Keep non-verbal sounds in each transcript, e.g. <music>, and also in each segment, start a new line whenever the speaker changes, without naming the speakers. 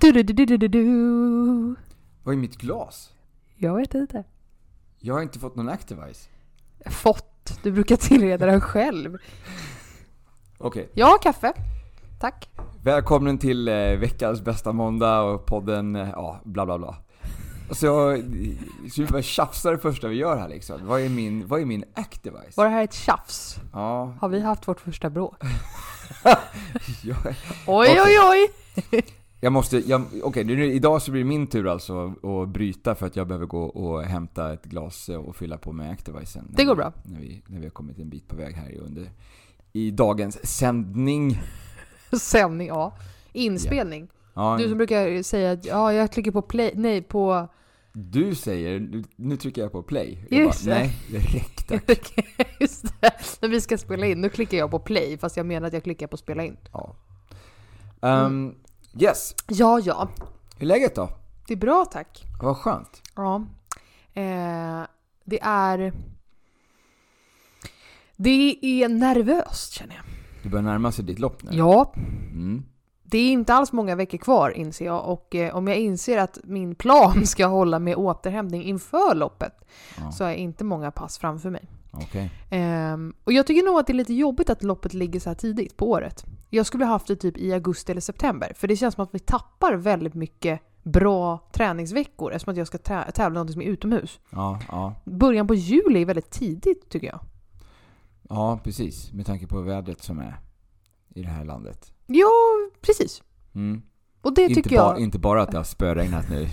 Du, du, du, du, du, du, du.
Vad är mitt glas?
Jag vet inte.
Jag har inte fått någon Activise.
Fått. Du brukar tillreda den själv.
Okej,
Jag har kaffe. Tack.
välkommen till eh, veckans bästa måndag och podden, eh, ja, bla bla bla. Så, jag- så vi bara tjafsar det första vi gör här liksom. Vad är min, vad är min Activise?
Var det här ett tjafs?
Ja,
Har vi haft vårt första bråk?
jag,
Oj, oj, oj!
jag måste, jag, okej nu, idag så blir det min tur alltså att bryta för att jag behöver gå och hämta ett glas eh, och fylla på med Activisen. när
Det går
vi-
bra.
När vi, när vi har kommit en bit på väg här i under, i dagens sändning.
Sändning, ja. Inspelning.
Ja,
Du som brukar säga att ja, jag klickar på play, nej på...
Du säger, nu- nu trycker jag på play. Jag
Just det.
bara, nej, det
<laughs>
räckte.
Just det. När vi ska spela in, då klickar jag på play fast jag menar att jag klickar på spela in.
Ja. Ehm, yes,
Ja, ja.
hur är läget då?
Det är bra tack.
Vad skönt.
Ja. Eh, det är... Det är nervöst känner jag.
Du börjar närma sig ditt lopp nu.
Ja,
Mm.
det är inte alls många veckor kvar inser jag och eh, om jag inser att min plan <laughs> ska hålla med återhämtning inför loppet
Ja,
så är inte många pass framför mig.
Okej.
Ehm, och jag tycker nog att det är lite jobbigt att loppet ligger så här tidigt på året. Jag skulle ha haft det typ i augusti eller september. För det känns som att vi tappar väldigt mycket bra träningsveckor eftersom att jag ska tä- tävla något som är utomhus.
Ja, ja,
Början på juli är väldigt tidigt tycker jag.
ja, precis. Med tanke på vädret som är i det här landet.
Ja, precis.
Mm.
Och det,
Inte,
tycker
ba-
jag,
inte bara att det har spöregnat nu.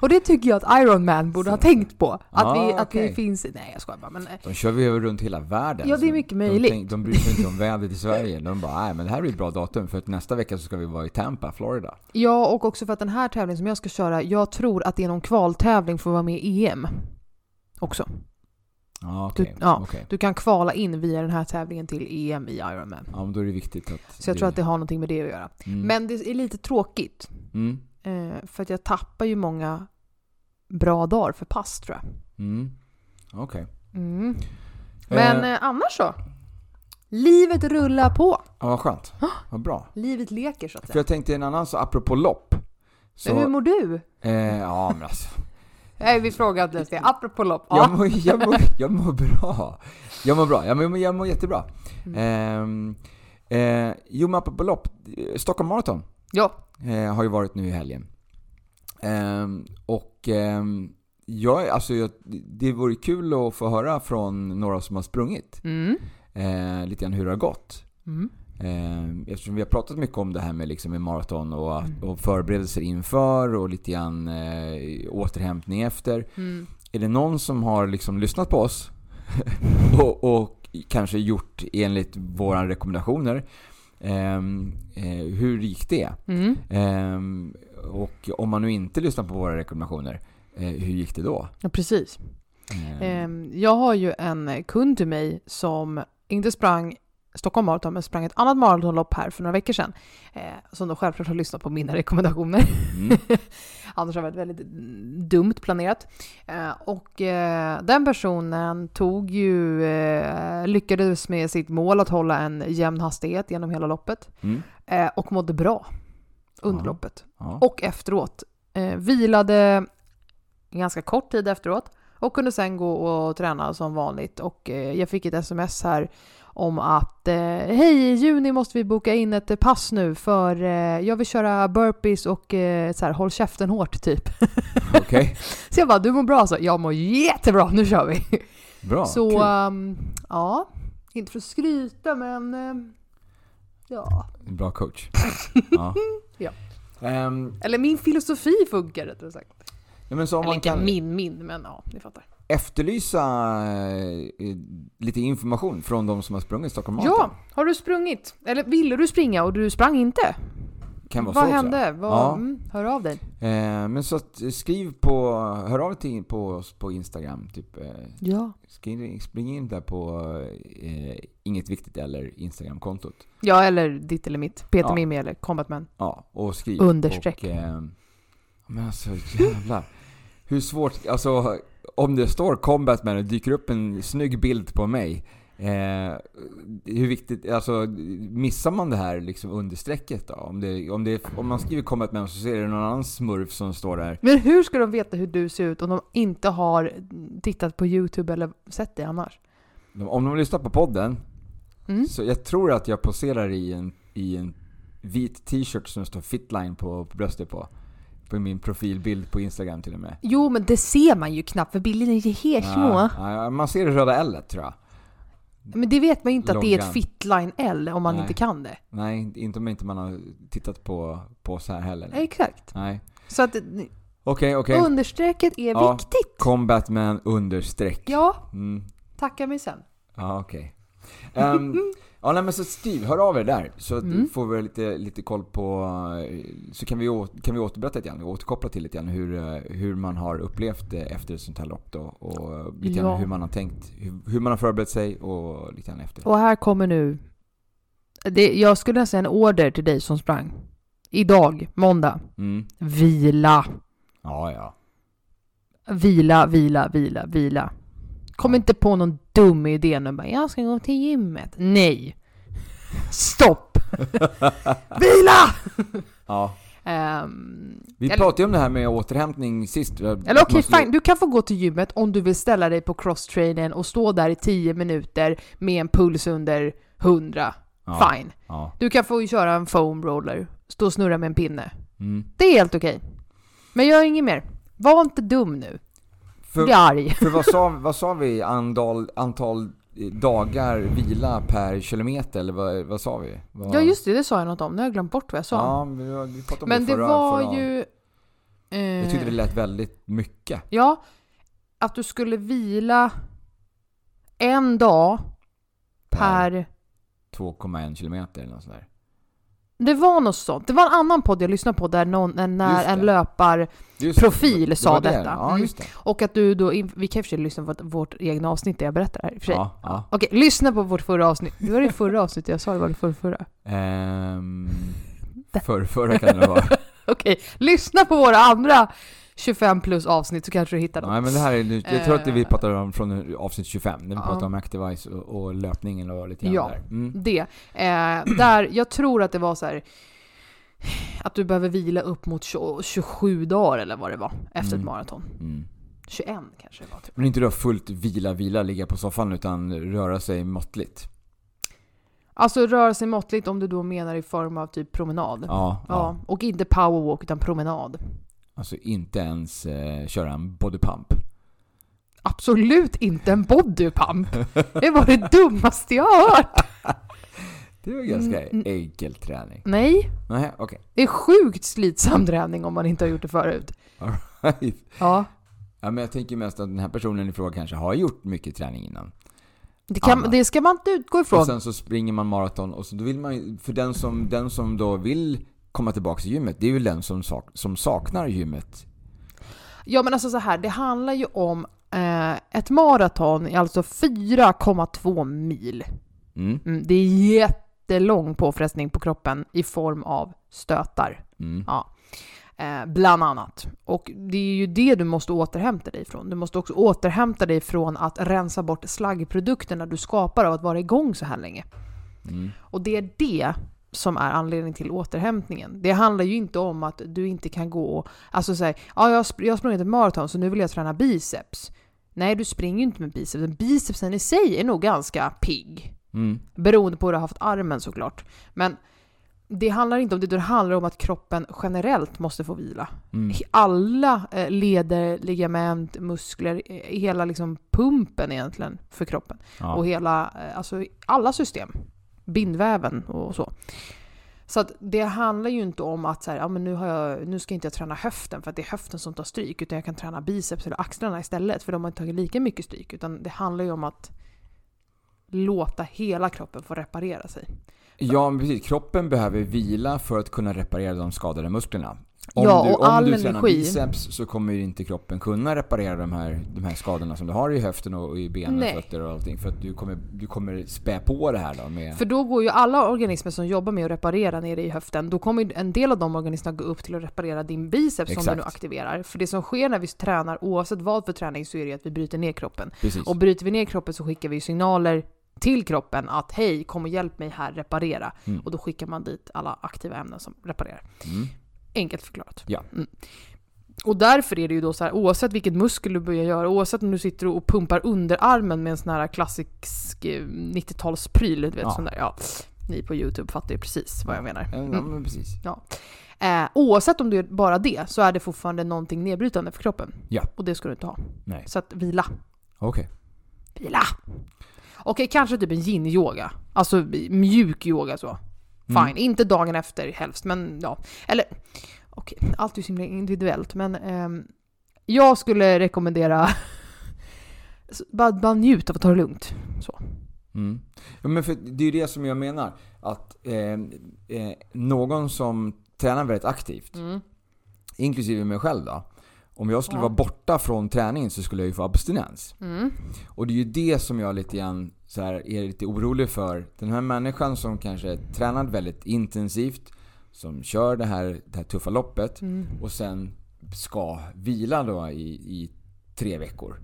och det tycker jag att Iron Man borde ha
Så.
tänkt på. Att,
Ah,
vi, att
okej.
det finns... Nej, jag skojar bara. Men, eh,
De kör vi över runt hela världen.
Ja, det är
Så
mycket
de
möjligt.
tänk- De bryr sig inte om vädret i Sverige. De bara, nej men det här blir ett bra datum för att nästa vecka så ska vi vara i Tampa, Florida.
ja, och också för att den här tävlingen som jag ska köra, jag tror att det är någon kvaltävling för att vara med i EM. Också.
Ja, okej.
Du- ja.
okej.
Du kan kvala in via den här tävlingen till EM i Ironman.
ja, men då är det viktigt att...
Så jag tror att det har någonting med det att göra.
Mm.
Men det är lite tråkigt.
Mm.
eh, För att jag tappar ju många bra dagar för pass tror jag.
Mm. Okej.
Mm. Men
Eh,
eh, annars så? Livet rullar på.
ja, vad skönt. Vad bra.
Livet leker så att
För
säga.
jag tänkte en annan så apropå lopp. Så,
Hur mår du?
eh, ja men alltså.
Nej, vi frågar inte ens det. Apropå lopp. <laughs> Ja.
Jag mår, jag, mår, jag mår bra. Jag mår bra. Jag mår, jag mår jättebra. Mm. Eh, eh, jo men apropå lopp. eh, Stockholm Marathon
ja.
eh, har ju varit nu i helgen. Ehm, och ehm, jag, alltså jag, det vore kul att få höra från några som har sprungit.
Mm.
Eh, lite grann hur det har gått.
Mm.
Eh, Eftersom vi har pratat mycket om det här med, liksom, med maraton och, att-
Mm.
och förberedelser inför och lite grann eh, återhämtning efter.
Mm.
Är det någon som har liksom lyssnat på oss <laughs> och, och kanske gjort enligt våra rekommendationer? ehm, eh, hur gick det?
Mm.
Ehm, och om man nu inte lyssnar på våra rekommendationer, eh, hur gick det då?
Ja, precis.
Ehm,
Ehm, Jag har ju en kund till mig som inte sprang Stockholm Marathon, men sprang ett annat maratonlopp här för några veckor sedan. Eh, som då självklart har lyssnat på mina <laughs> rekommendationer.
mm,
Annars har det varit väldigt dumt planerat. Eh, och eh, den personen tog ju, eh, lyckades med sitt mål att hålla en jämn hastighet genom hela loppet.
mm,
Eh, och mådde bra under
Ja.
loppet. <laughs>
ja.
Och efteråt. Eh, vilade en ganska kort tid efteråt och kunde sen gå och träna som vanligt. Och eh, jag fick ett sms här om att eh, hej, i juni måste vi boka in ett pass nu för eh, jag vill köra burpees och eh, så här, håll käften hårt typ. <laughs>
Okej,
Så jag bara, du mår bra så Jag mår jättebra, nu kör vi.
bra.
så
kul.
ehm, ja, inte för att skryta men ehm, ja.
En bra
<laughs>
coach. ja.
Ja.
Ehm,
Eller min filosofi funkar rättare sagt.
ja, men så om
Eller
man
inte
kan,
min, min, men ja, ni fattar.
efterlysa eh, lite information från de som har sprungit Stockholm
Ja,
Marathon.
har du sprungit? Eller ville du springa och du sprang inte?
Kan vara
Vad
så också.
hände? Vad,
Ja.
mm, hör av dig.
Eh, men så att eh, skriv på, hör av dig till- på oss på Instagram. Typ, eh,
Ja.
skriv, spring in där på eh, Inget Viktigt eller Instagram-kontot.
ja, eller ditt eller mitt. Peter
Ja.
Mimmi eller Combatman.
Ja, och skriv.
Understreck.
Och, eh, men alltså jävlar. Hur svårt, alltså om det står Combat Man och dyker upp en snygg bild på mig. Eh, hur viktigt, alltså missar man det här liksom under strecket då? Om, det, om, det, om man skriver Combat Man så ser det någon annan smurf som står där.
Men hur ska de veta hur du ser ut om de inte har tittat på YouTube eller sett dig annars?
De- Om de lyssnar på podden,
Mm.
så jag tror att jag poserar i en, i en vit t-shirt som står Fitline på, på bröstet på. På min profilbild på Instagram till och med.
Jo, men det ser man ju knappt för bilderna är helt små.
Ja, ja, man ser det röda L tror jag.
Men det vet man ju inte att det är
Loggan.
ett fitline L om man
Nej.
inte kan det.
Nej, inte om inte man har tittat på, på så här heller.
Exakt.
Nej.
Så att
Okej, okej.
understrecket är
Ja.
viktigt.
Combatman understreck.
Ja,
Mm.
tacka mig sen.
Ja, okej. Ehm, ja, nej men så Steve, hör av er där. Så att
Mm.
får vi lite, lite koll på... eh, Så kan vi, å- kan vi återberätta lite grann, återkoppla till lite grann hur, eh, hur man har upplevt eh, efter ett sånt här lopp då. Och eh, lite grann
Ja.
hur man har tänkt, hur, hur man har förberett sig och lite grann efter.
Och här kommer nu... Det, jag skulle nästan säga en order till dig som sprang. Idag, måndag.
Mm.
Vila,
Ja, ja.
vila, vila, vila, vila. Kom inte på någon dum idé nu bara, jag ska gå till gymmet. Nej. Stopp! vila!
ja.
Ehm,
Vi
Eller-
pratade ju om det här med återhämtning sist.
eller okej, fine. Du kan få gå till gymmet om du vill ställa dig på crosstrainen och stå där i 10 minuter med en puls under 100.
Ja,
Fine.
ja.
Du kan få köra en foam roller, stå och snurra med en pinne.
Mm.
Det är helt okej. Men gör inget mer. Var inte dum nu.
För,
Bli
<laughs>
arg.
för vad, sa, vad sa vi? Andal, antal eh, dagar vila per kilometer, eller vad, vad sa vi? Vad,
Ja just det, det sa jag något om. Nu har jag glömt bort vad jag sa.
Ja, men vi har- vi pratade om
Men det
förra,
var
förra.
ju... eh,
Jag tyckte det lät väldigt mycket.
Ja, att du skulle vila en dag per...
2,1 kilometer eller något sånt där.
Det var något sånt. Det var en annan podd jag lyssnade på där någon, en-
Just
när
det.
en löpar...
Just
Profil
det, det
sa
var det.
detta.
Ja,
Mm.
just det.
Och att du då... in- Vi kan i och för sig lyssna på vårt egna avsnitt där jag berättar här i och för sig.
Ja, ja.
Okej, lyssna på vårt förra avsnitt. Det var det förra avsnittet jag sa, det var det förra, förra. <laughs>
Ehm, för, förra kan det vara.
Okej, lyssna på våra andra 25 plus avsnitt så kanske du hittar något.
Nej men det här är nu, jag tror att det vi
Eh.
pratade om från avsnitt 25, när vi
Ja.
pratade om Activise och, och löpningen och lite grann
Ja.
där. Mm.
Det. Eh, där, jag tror att det var så här att du behöver vila upp mot 20, 27 dagar eller vad det var efter
Mm.
ett maraton.
Mm.
21 kanske det var typ.
Men inte då fullt vila, vila, ligga på soffan utan röra sig måttligt.
Alltså röra sig måttligt om du då menar i form av typ promenad. Ja.
Ja, ja.
och inte powerwalk utan promenad.
Alltså inte ens eh, köra en body pump.
Absolut inte en bodypump! Det var det dummaste jag har hört!
Det var ganska
Mm.
enkel träning.
Nej,
Nej, okej.
det är sjukt slitsam träning om man inte har gjort det förut.
Right.
Ja.
Ja, men jag tänker mest att den här personen i fråga kanske har gjort mycket träning innan.
Det, kan,
Anna. Alltså-
det ska man inte utgå
Och
ifrån.
sen så springer man maraton och så då vill man ju- för den som, den som då vill komma tillbaka till gymmet, det är ju den som, sak, som saknar gymmet.
Ja men alltså så här, det handlar ju om eh, ett maraton, alltså 4,2 mil.
Mm,
Mm, det är jättelång påfrestning på kroppen i form av stötar,
mm,
eh, bland annat. Och det är ju det du måste återhämta dig från. Du måste också återhämta dig från att rensa bort slaggprodukterna du skapar av att vara igång så här länge.
mm.
Och det är det som är anledningen till återhämtningen. Det handlar ju inte om att du inte kan gå och... Alltså säg, ja jag, har sp- jag har sprungit ett maraton så nu vill jag träna biceps. Nej, du springer ju inte med bicepsen. Bicepsen i sig är nog ganska pigg.
mm.
Beroende på hur du har haft armen såklart. Men det handlar inte om det, det handlar om att kroppen generellt måste få vila.
Mm.
Alla eh, leder, ligament, muskler, eh, hela liksom pumpen egentligen för kroppen
Ja.
och hela, eh, alltså alla system. Bindväven och så. Så att det handlar ju inte om att så här, ja, men nu, har jag, nu ska inte jag träna höften för att det är höften som tar stryk utan jag kan träna biceps eller axlarna istället för de har inte tagit lika mycket stryk utan det handlar ju om att låta hela kroppen få reparera sig.
Ja, men precis. Kroppen behöver vila för att kunna reparera de skadade musklerna. Om
Ja,
du,
och
om
all
du tränar
energi-
biceps så kommer ju inte kroppen kunna reparera de här, de här skadorna som du har i höften och i benen och
Nej.
fötter och allting. För att du kommer, du kommer spä på det här då med...
För då går ju alla organismer som jobbar med att reparera nere i höften, då kommer ju en del av de organismerna gå upp till att reparera din biceps som
Exakt.
du nu aktiverar. För det som sker när vi tränar, oavsett vad för träning, så är det ju att vi bryter ner kroppen.
Precis.
Och bryter vi ner kroppen så skickar vi ju signaler till kroppen att hej, kom och hjälp mig här reparera.
Mm.
Och då skickar man dit alla aktiva ämnen som reparerar.
Mm.
Enkelt förklarat.
Ja.
Mm. Och därför är det ju då så här, oavsett vilket muskel du börjar göra, oavsett om du sitter och pumpar underarmen med en sån här klassisk eh, 90-talspryl, du vet
Ja.
sån där, ja. Ni på YouTube fattar ju precis vad jag menar.
Ja,
Mm.
men precis.
Eh, oavsett om du gör bara det så är det fortfarande någonting nedbrytande för kroppen.
Ja.
Och det ska du inte ha.
Nej.
Så att vila.
Okej.
Vila! Okej, kanske typ en yin-yoga. Alltså mjuk yoga så. Fine,
Mm.
inte dagen efter helst, men ja. Eller, okej, allt är ju så himla individuellt, men ehm, jag skulle rekommendera <laughs> så bara, bara njut av att ta det lugnt.
Mm. Ja, men för det är ju det som jag menar. Att eh, eh, någon som tränar väldigt aktivt, inklusive mig själv då. Om jag skulle
Ja.
vara borta från träningen så skulle jag ju få abstinens.
Mm.
Och det är ju det som jag lite grann så här, är lite orolig för. Den här människan som kanske tränar väldigt intensivt, som kör det här, det här tuffa loppet
Mm.
och sen ska vila då i, i tre veckor.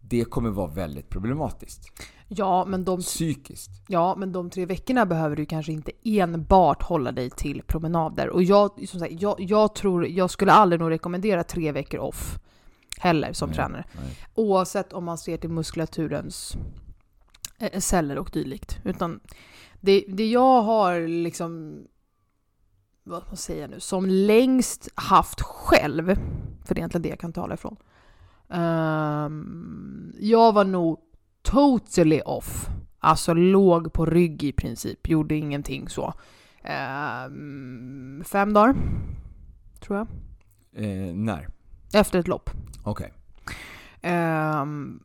Det kommer vara väldigt problematiskt.
Ja, men de,
Psykiskt.
ja, men de tre veckorna behöver du kanske inte enbart hålla dig till promenader. Och jag, som sagt, jag, jag tror, jag skulle aldrig nog rekommendera tre veckor off heller som
Nej.
tränare.
Nej.
Oavsett om man ser till muskulaturens eh, celler och dylikt. Utan det, det jag har liksom, vad ska man säga nu, som längst haft själv, för det är egentligen det jag kan tala ifrån. Ehm, jag var nog totally off. Alltså låg på rygg i princip, gjorde ingenting så. Ehm, fem dagar, tror jag,
Eh, när?
efter ett lopp.
Okej.
Ehm,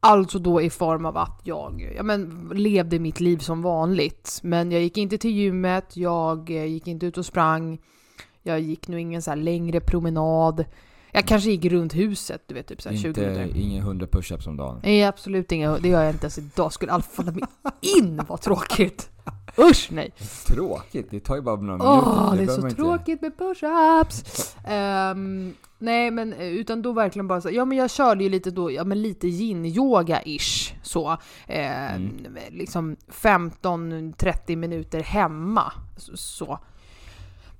alltså då i form av att jag ja, men, levde mitt liv som vanligt. Men jag gick inte till gymmet, jag eh, gick inte ut och sprang. Jag gick nog ingen så här längre promenad. Jag kanske gick runt huset, du vet, typ så här 20
Inte,
minuter.
inga 100 push-ups om dagen.
Nej, absolut inga. Det gör jag inte ens idag. Skulle aldrig falla mig in, vad tråkigt! Usch nej!
Tråkigt, det tar ju bara några minuter.
Åh, det
behöver
är
man
så
inte-
tråkigt med push-ups! Ehm, nej, men eh, utan då verkligen bara så, ja men jag körde ju lite då, ja men lite yin-yoga-ish så. Eh,
Mm.
Liksom 15-30 minuter hemma. s- Så.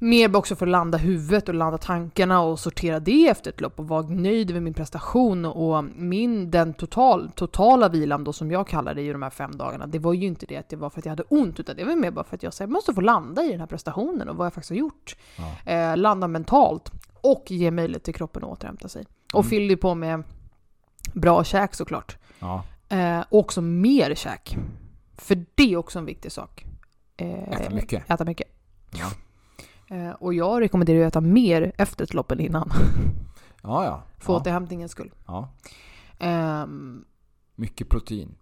Mer bara också för att landa huvudet och landa tankarna och sortera det efter ett lopp och vara nöjd med min prestation och min, den total, totala vilan då som jag kallar det i de här fem dagarna. Det var ju inte det att det var för att jag hade ont utan det var mer bara för att jag så här, måste få landa i den här prestationen och vad jag faktiskt har gjort.
Ja.
Eh, landa mentalt och ge möjlighet till kroppen att återhämta sig. Och
Mm.
fyllde ju på med bra käk såklart.
Ja.
Eh, och också mer käk. För det är också en viktig sak. Eh,
Äta mycket.
Äta mycket.
Ja.
Eh, och jag rekommenderar ju att äta mer efter ett lopp än innan. <laughs>
Ja, ja.
För
ja.
återhämtningens skull.
ja.
Ehm,
Mycket protein.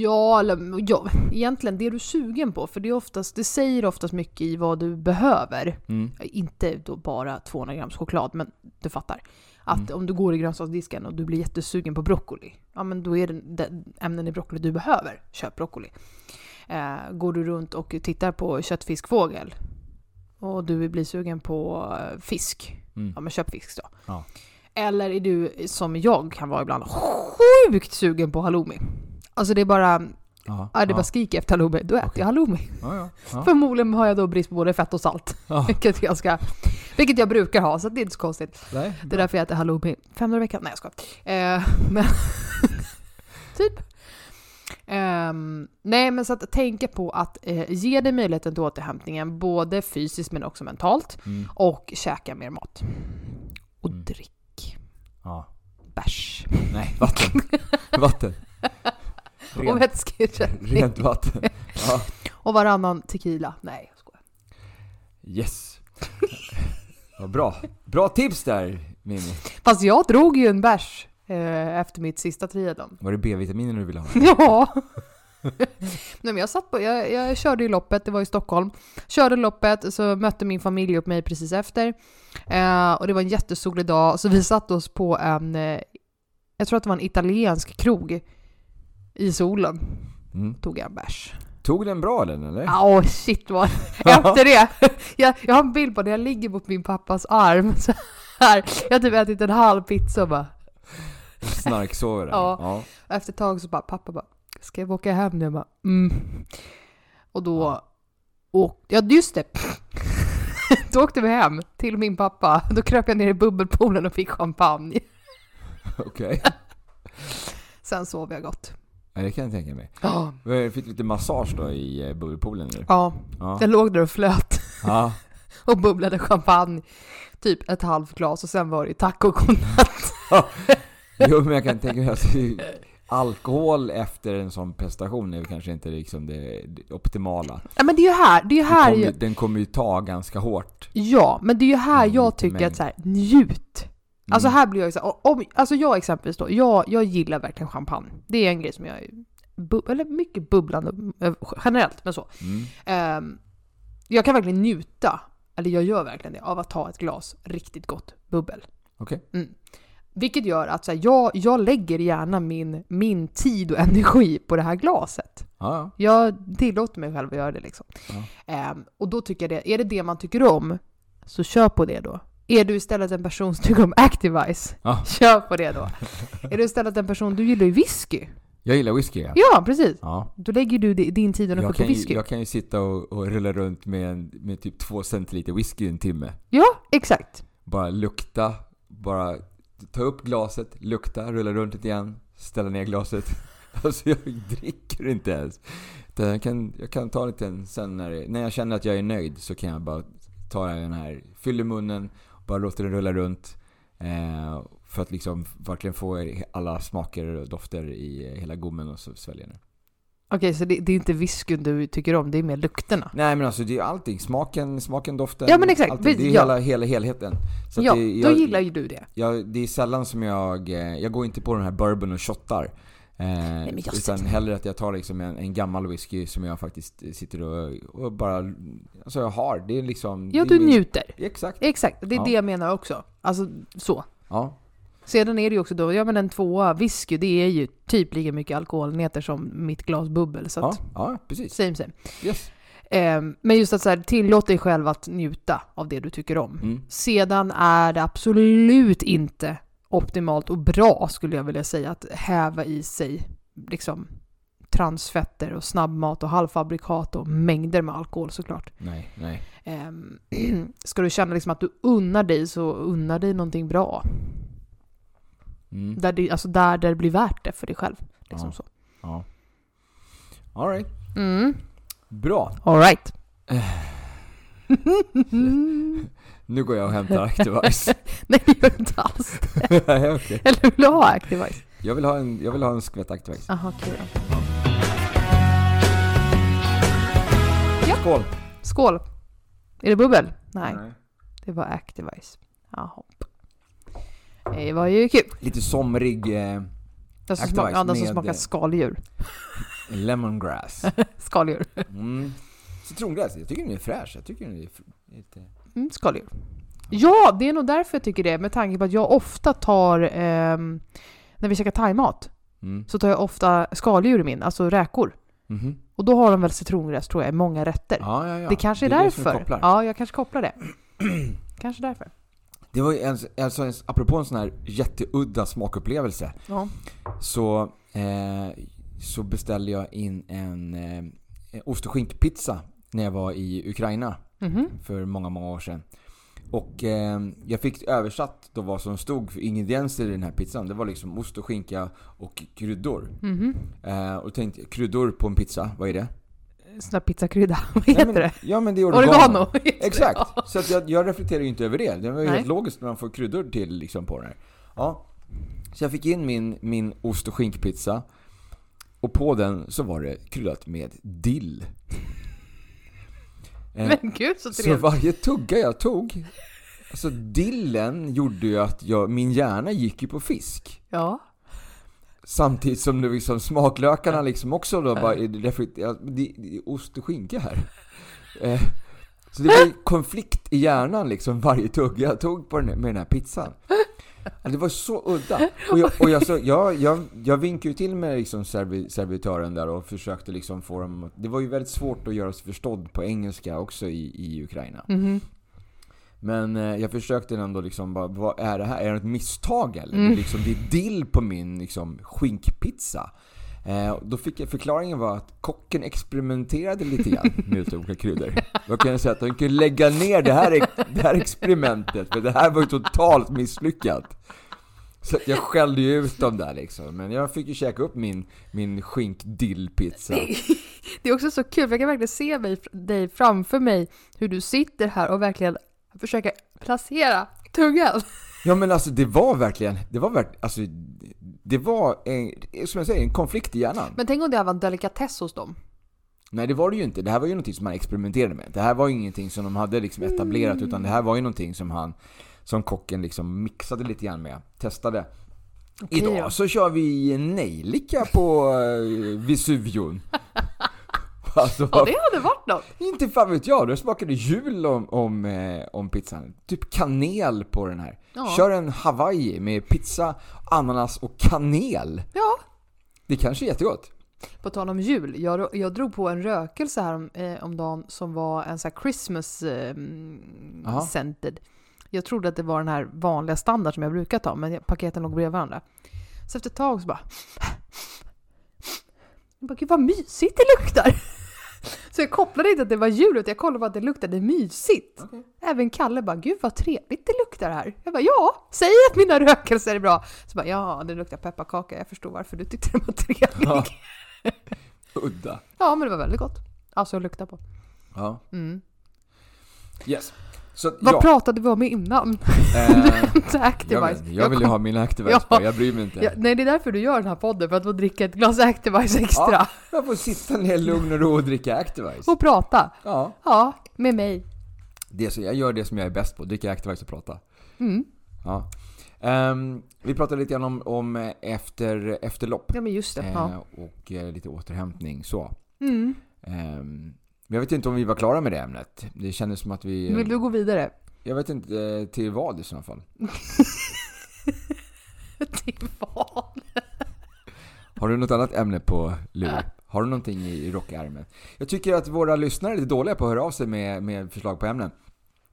ja, eller ja, egentligen det du är sugen på. För det, är oftast, det säger oftast mycket i vad du behöver.
Mm.
Inte då bara 200 grams choklad, men du fattar. Att
Mm.
om du går i grönsaksdisken och du blir jättesugen på broccoli, ja men då är det, det ämnen i broccoli du behöver. Köp broccoli. Eh, går du runt och tittar på köttfiskfågel och du blir sugen på eh, fisk,
Mm.
ja men köp fisk då.
Ja.
Eller är du, som jag kan vara ibland, sjukt sugen på halloumi. Alltså det är bara,
Ja,
ja, det är bara
ja.
skriker efter halloumi, då äter
Okej.
jag halloumi.
Ja, ja. Ja.
Förmodligen har jag då brist på både fett och salt.
Ja.
Vilket jag, ska, vilket jag brukar ha, så att det är inte så konstigt.
Nej,
Det är därför jag äter halloumi fem dagar i veckan. Nej, jag ska. Eh, <laughs> men typ. Ehm, nej, men så att tänka på att eh, ge dig möjligheten till återhämtningen, både fysiskt men också mentalt,
Mm.
och käka mer mat. Och
Mm.
drick
Ja.
bärs.
Nej, vatten.
<laughs>
vatten.
Och
Rent,
vätskeersättning.
rent vatten. Ja.
Och varannan tequila. Nej, jag skojar.
Yes. Vad bra. Bra tips där Mimmi.
Fast jag drog ju en bärs eh, efter mitt sista triadon.
Var det B-vitaminer du <laughs> ville ha?
Ja! Nej, men jag, satt på, jag, jag körde ju loppet, det var i Stockholm. Körde loppet, så mötte min familj upp mig precis efter. Eh, och det var en jättesolig dag, så vi satte oss på en, eh, jag tror att det var en italiensk krog i solen.
Mm.
Tog jag en bärs.
Tog den bra den eller?
Åh shit vad... Efter det! Jag, jag har en bild på när jag ligger mot min pappas arm så här. Jag har typ ätit en halv pizza och bara...
<laughs> Snarksover.
Ja.
ja.
Och efter ett tag så bara pappa bara Ska jag åka hem nu? Jag bara mm. Och då... Och, ja just det! <laughs> Då åkte vi hem till min pappa. Då kröp jag ner i bubbelpoolen och fick champagne.
Okej.
Sen sov jag gott.
Ja, det kan jag tänka mig.
Ja,
Eh, Fick du lite massage då i eh, bubbelpoolen nu?
ja.
Ja.
jag låg där och flöt <laughs>
ja.
och bubblade champagne. Typ ett halvt glas och sen var det ju taco godnatt.
<laughs> Jo men jag kan tänka mig att det- alkohol efter en sån prestation är väl kanske inte liksom det, det optimala.
Ja, men det är ju här, det är ju
Den
här
kommer, ju,
jag,
den kommer ju ta ganska hårt.
ja, men det är ju här
Mm,
jag
lite
tycker
mängd.
att så här, njut.
Mm.
Alltså här blir jag ju så här, om, alltså jag exempelvis då, jag, jag gillar verkligen champagne. Det är en grej som jag, är bu, eller mycket bubblande eh, generellt, men så.
Mm.
Ehm, jag kan verkligen njuta, eller jag gör verkligen det, av att ta ett glas riktigt gott bubbel.
Okej.
Mm. Vilket gör att så här, jag, jag lägger gärna min, min tid och energi på det här glaset.
Ja, ja.
Jag tillåter mig själv att göra det liksom.
Ja.
Ehm, och då tycker jag det, är det det man tycker om, så kör på det då. Är du istället en person som tycker om Activise,
Ja.
<laughs> kör på det då. är du istället en person, du gillar ju whisky.
Jag gillar whisky ja.
Ja, precis.
ja.
Då lägger du di- din tid och energi
Jag,
på
kan ju,
whisky.
jag kan ju sitta och, och rulla runt med, en, med typ två centiliter whisky i en timme.
Ja, exakt.
Bara lukta, bara ta upp glaset, lukta, rulla runt lite igen, ställa ner glaset. <laughs> Alltså jag dricker inte ens. Utan Jag kan, jag kan ta en liten sen när, det- när jag känner att jag är nöjd så kan jag bara ta den här, fyller munnen, bara låter den rulla runt. Eh, för att liksom verkligen få alla smaker och dofter i hela gommen och så sväljer jag den.
Okej, så det, det är inte whiskyn du tycker om, det är mer lukterna.
Nej men alltså det är ju allting, smaken, smaken doften,
Ja, men exakt.
allting. Det är
Ja.
hela, hela helheten. Så att
ja,
det,
då
jag-
gillar ju du det.
Jag, det är sällan som jag, eh, jag går inte på den här bourbon och shottar. Eh,
men jag
utan
sitter-
hellre att jag tar liksom en, en gammal whisky som jag faktiskt eh, sitter och, och bara, alltså jag har. Det är liksom...
Ja,
det är
du
min-
njuter.
Exakt.
Exakt, det är
Ja.
det jag menar också. Alltså så.
Ja.
Sedan är det ju också då, ja men en tvåa whisky, det är ju typ lika mycket alkoholenheter som mitt glas bubbel. Så
Ja,
att,
ja, precis.
same same.
Yes.
Ehm, men just att så här, tillåt dig själv att njuta av det du tycker om.
Mm.
Sedan är det absolut inte optimalt och bra skulle jag vilja säga att häva i sig liksom transfetter och snabbmat och halvfabrikat och mängder med alkohol såklart.
Nej, nej.
Ehm, <clears throat> ska du känna liksom att du unnar dig så unnar dig någonting bra.
Mm.
Där det, alltså där, där det blir värt det för dig själv. Liksom
Ja.
så.
Ja. All right.
Mm.
Bra.
All right.
Eh. Nu går jag och hämtar
<laughs>
Activise.
<laughs> Nej, det gör inte alls.
Nej, okej.
Eller vill du ha Activise?
jag, vill ha en, jag vill ha en skvätt Activise.
Jaha, kul.
Skål!
Skål! Är det bubbel? Nej, det var Activise. Jaha. Det var ju kul.
Lite somrig eh,
Den som,
Activise
smak, ja, den som
med-
smakar skaldjur.
lemongrass.
Skaldjur.
Mm. Citrongräs, jag tycker den är fräsch. Jag tycker den är fr- lite...
Mm, skaldjur. Ja, det är nog därför jag tycker det. Med tanke på att jag ofta tar, ehm, när vi käkar thaimat,
Mm.
så tar jag ofta skaldjur i min, alltså räkor.
Mhm.
Och då har de väl citrongräs tror jag i många rätter.
Ja, ja, ja.
det kanske är,
är det som
därför.
kopplar.
ja, jag kanske
<clears throat>
kopplar det. kanske därför.
Det var ju en, alltså en, apropå en sån här jätteudda smakupplevelse.
Ja.
Så, eh, så beställde jag in en eh, en ost och skinkpizza när jag var i Ukraina
Mhm.
för många, många år sedan. Och eh, jag fick översatt då vad som stod för ingredienser i den här pizzan. Det var liksom ost och skinka och kryddor.
Mhm.
Eh, och då tänkte jag, kryddor på en pizza, vad är det?
Sån där pizzakrydda. <laughs> Vad heter
Nej, men,
det?
Ja men det är
Oregano.
oregano.
<laughs> heter det. Ja.
Exakt! Så att jag, jag reflekterar ju inte över det. Det var ju
Nej.
helt logiskt när man får kryddor till liksom på den här. Ja. Så jag fick in min, min ost och skinkpizza. Och på den så var det kryddat med dill. Eh,
<laughs> Men gud så
Så
trevligt.
varje tugga jag tog, alltså dillen gjorde ju att jag, min hjärna gick ju på fisk.
Ja.
Samtidigt som det liksom smaklökarna liksom också då bara, därför, ja, det, det är ost och skinka här. Eh, så det var ju konflikt i hjärnan liksom varje tugga jag tog på den, här- med den här pizzan. Ja, Det var så udda. Och jag, och jag, så, jag, jag, jag vinkade ju till med liksom servi, servitören där och försökte liksom få dem att- Det var ju väldigt svårt att göra sig förstådd på engelska också i, i Ukraina.
Mhm.
Men eh, jag försökte ändå liksom bara, vad är det här? Är det ett misstag eller?
Mm.
Liksom, det är dill på min liksom, skinkpizza. Eh, och då fick jag, förklaringen var att kocken experimenterade lite grann med lite olika kryddor. Då kan jag säga att de kunde lägga ner det här, ex- det här experimentet, för det här var ju totalt misslyckat. Så att jag skällde ju ut dem där liksom. Men jag fick ju käka upp min, min skinkdillpizza.
Det är också så kul, för jag kan verkligen se mig, dig framför mig hur du sitter här och verkligen försöker placera tungan.
Ja men alltså det var verkligen, det var verkligen, alltså det var en, som jag säger, en konflikt i hjärnan.
Men tänk om det här var en delikatess hos dem.
Nej det var det ju inte, det här var ju någonting som han experimenterade med. Det här var ju ingenting som de hade liksom etablerat utan det här var ju någonting som han, som kocken liksom mixade lite grann med, testade. Idag
då.
så kör vi nejlika på eh,
<laughs>
Vesuvion. alltså,
Ja, det hade varit något.
inte fan vet jag, det smakade jul om, om, eh, om pizzan. Typ kanel på den här.
Ja.
Kör en hawaii med pizza, ananas och kanel.
Ja.
Det kanske är
<laughs>
jättegott.
På tal om jul, jag, jag drog på en rökelse här om, eh, om dagen som var en sån här Christmas eh, mm,
Jaha.
scented. Jag trodde att det var den här vanliga standard som jag brukar ta, men paketen låg bredvid varandra. Så efter ett tag så bara... Jag bara, gud vad mysigt det luktar! <laughs> Så jag kopplade inte att det var jul, utan jag kollade bara att det luktade mysigt. Även Kalle bara, gud vad trevligt det luktar här. Jag bara, ja, säg att mina rökelser är bra. Så bara, ja, det luktar pepparkaka, jag förstår varför du tyckte det var trevligt.
Ja. Udda.
Ja, men det var väldigt gott. Alltså att lukta på.
Ja.
Mm.
Yes. Så,
Vad
ja,
pratade vi om innan? <laughs>
eh,
Så
jag,
Activise.
vet, inte, jag vill ju
kom-
ha mina Activize
Ja.
på, jag bryr mig inte.
Ja, nej, det är därför du gör den här podden, för att få dricka ett glas Activise extra.
Jag får sitta ner i lugn och ro och dricka Activize.
Och prata.
Ja,
Ja, med mig.
det är så, jag gör det som jag är bäst på, dricka Activize och prata.
Mm.
Ja. Ehm, vi pratade lite grann om, om eh, efter, efterlopp
Ja, men just det. Ja.
eh, och eh, lite återhämtning så.
Mm.
Ehm, men jag vet inte om vi var klara med det ämnet. Det kändes som att vi...
Vill du gå vidare? <laughs>
Jag vet inte eh, till vad i så fall.
Till vad?
Har du något annat ämne på
Ah.
lur? Har du någonting i rockärmen? Jag tycker att våra lyssnare är lite dåliga på att höra av sig med, med förslag på ämnen.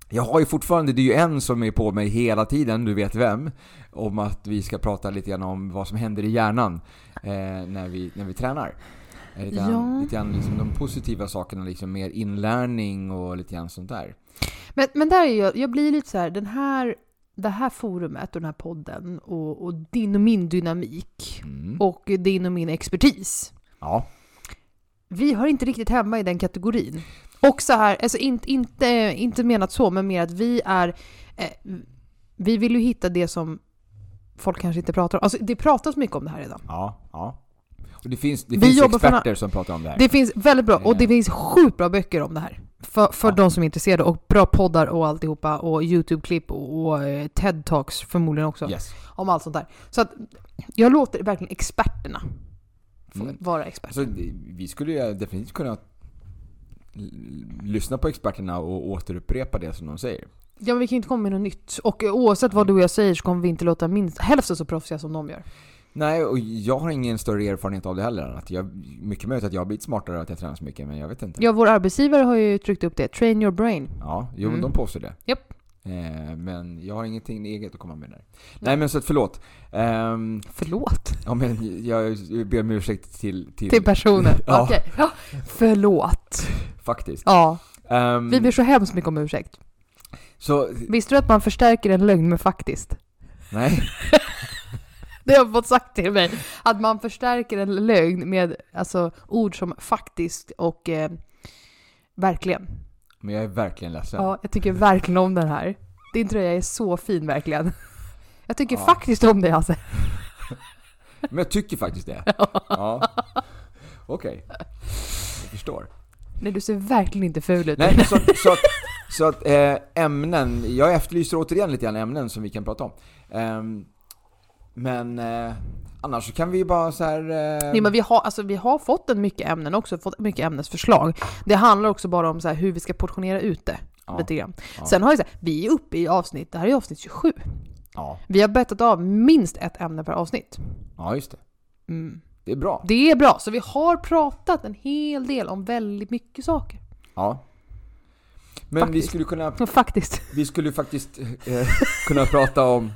Jag har ju fortfarande, det är ju en som är på mig hela tiden, du vet vem, om att vi ska prata lite grann om vad som händer i hjärnan eh, när, vi, när vi tränar. Eh, Lite grann,
Ja.
lite grann liksom de positiva sakerna, liksom mer inlärning och lite grann sånt där.
Men, men där är jag, jag blir lite så här, den här, det här forumet och den här podden och, och din och min dynamik
Mm.
och din och min expertis.
Ja.
vi hör inte riktigt hemma i den kategorin. Och så här, alltså inte, inte, inte menat så, men mer att vi är... Eh, vi vill ju hitta det som folk kanske inte pratar om. Alltså det pratas mycket om det här redan.
Ja, ja. Och det finns, det
Vi
finns
jobbar för
experter som pratar om det här.
Det finns väldigt bra, och det
Eh.
finns sjukt bra böcker om det här. För, för
Ja.
de som är intresserade, och bra poddar och alltihopa, och YouTube-klipp och, och eh, TED-talks förmodligen också,
Yes.
om allt sånt där. Så att jag låter verkligen experterna få
Mm.
vara experter.
Alltså, det- vi skulle ju definitivt kunna l- lyssna på experterna och återupprepa det som de säger.
Ja, men vi kan ju inte komma med något nytt. Och eh, oavsett vad du och jag säger så kommer vi inte låta minst hälften så proffsiga som de gör.
Nej, och jag har ingen större erfarenhet av det heller. än Att jag, mycket möjligt att jag har blivit smartare och att jag tränar så mycket, men jag vet inte.
Ja, vår arbetsgivare har ju tryckt upp det. Train your brain.
Ja, jo, men
Mm.
de påstår det.
Japp.
Eh, men jag har ingenting eget att komma med där. Nej, men så att förlåt. Ehm,
Förlåt.
ja, men jag ber om ursäkt till, till,
Till personen.
<laughs> Ja.
Okej. Ja. Förlåt.
faktiskt.
Ja,
Ehm,
vi ber så hemskt mycket om ursäkt.
Så,
Visste du att man förstärker en lögn med faktiskt?
nej.
Det har jag fått sagt till mig. Att man förstärker en lögn med alltså, ord som faktiskt och eh, verkligen.
Men jag är verkligen ledsen.
Ja, jag tycker verkligen om den här. Din tröja är så fin verkligen. Jag tycker
Ja.
faktiskt om dig Hasse. <laughs>
Men jag tycker faktiskt det. Ja. Okej. Jag förstår.
Nej, du ser verkligen inte ful ut.
Nej, så, så att, så att eh, ämnen, jag efterlyser återigen lite grann ämnen som vi kan prata om. Ehm, men eh, annars så kan vi ju bara så här... eh,
Nej, men vi har, alltså, vi har fått en mycket ämnen också, fått mycket ämnesförslag. Det handlar också bara om så här, hur vi ska portionera ut det.
ja,
Lite grann.
ja,
Sen har vi så här, vi är uppe i avsnitt, det här är avsnitt 27.
ja,
Vi har bettat av minst ett ämne per avsnitt.
ja, just det.
Mm.
Det är bra.
Det är bra, så vi har pratat en hel del om väldigt mycket saker.
Ja. Men vi
Faktiskt.
skulle kunna
Ja, Faktiskt.
Vi skulle faktiskt eh, kunna prata om...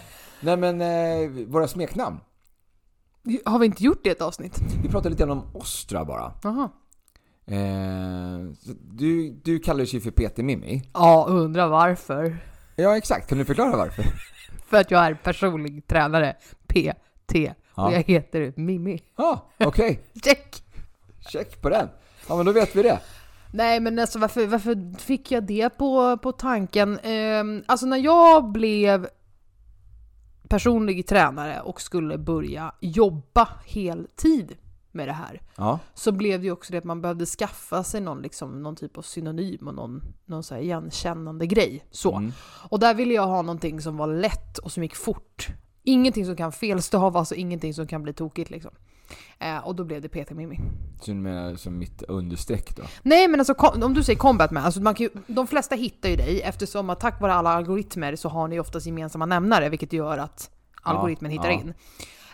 <laughs> Nej men, eh, våra smeknamn.
Har vi inte gjort det i ett avsnitt?
Vi pratade lite grann om Ostra bara.
Jaha.
Eh, så du, du kallar ju för Peter Mimmi.
Ja, undrar varför.
Ja exakt, kan du förklara varför?
För att jag är personlig tränare, PT, och jag
Ja,
heter Mimmi.
ja okej.
Check!
Check på den. Ja men då vet vi det.
Nej men alltså varför, varför fick jag det på, på tanken? Ehm, alltså när jag blev personlig tränare och skulle börja jobba heltid med det här
Ja,
så blev det ju också det att man behövde skaffa sig någon, liksom, någon typ av synonym och någon, någon så här igenkännande grej. Så.
Mm.
Och där ville jag ha någonting som var lätt och som gick fort. Ingenting som kan felstavas och ingenting som kan bli tokigt liksom. Eh, och då blev det PT Mimmi.
så du menar som mitt understreck då?
Nej men alltså kom- om du säger Combatman, alltså man kan ju, de flesta hittar ju dig eftersom att tack vare alla algoritmer så har ni oftast gemensamma nämnare vilket gör att
Ja,
algoritmen hittar
ja.
in.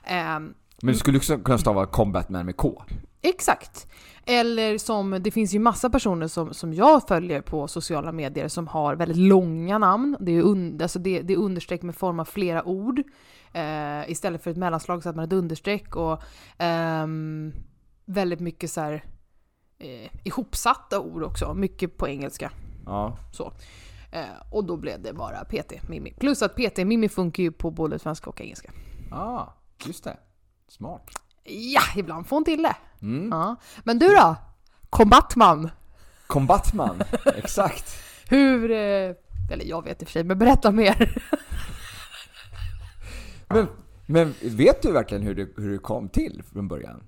Ehm,
Men du skulle också kunna stava Combatman med K.
Exakt. Eller som, det finns ju massa personer som, som jag följer på sociala medier som har väldigt långa namn. Det är, un, alltså det, det är understreck med form av flera ord. Eh, istället för ett mellanslag så att man har ett understreck och ehm, väldigt mycket så här eh, ihopsatta ord också. Mycket på engelska.
Ja.
Eh, och då blev det bara PT, Mimmi. Plus att PT, Mimmi funkar ju på både svenska och engelska.
Ah, just det. Smart.
Ja, ibland får hon till det.
Mm.
Ja. Men du då? Kombatman?
<laughs> Combatman, exakt.
Hur... eh, Eller jag vet i och för sig, men berätta mer.
Men, men vet du verkligen hur det, hur det kom till från början?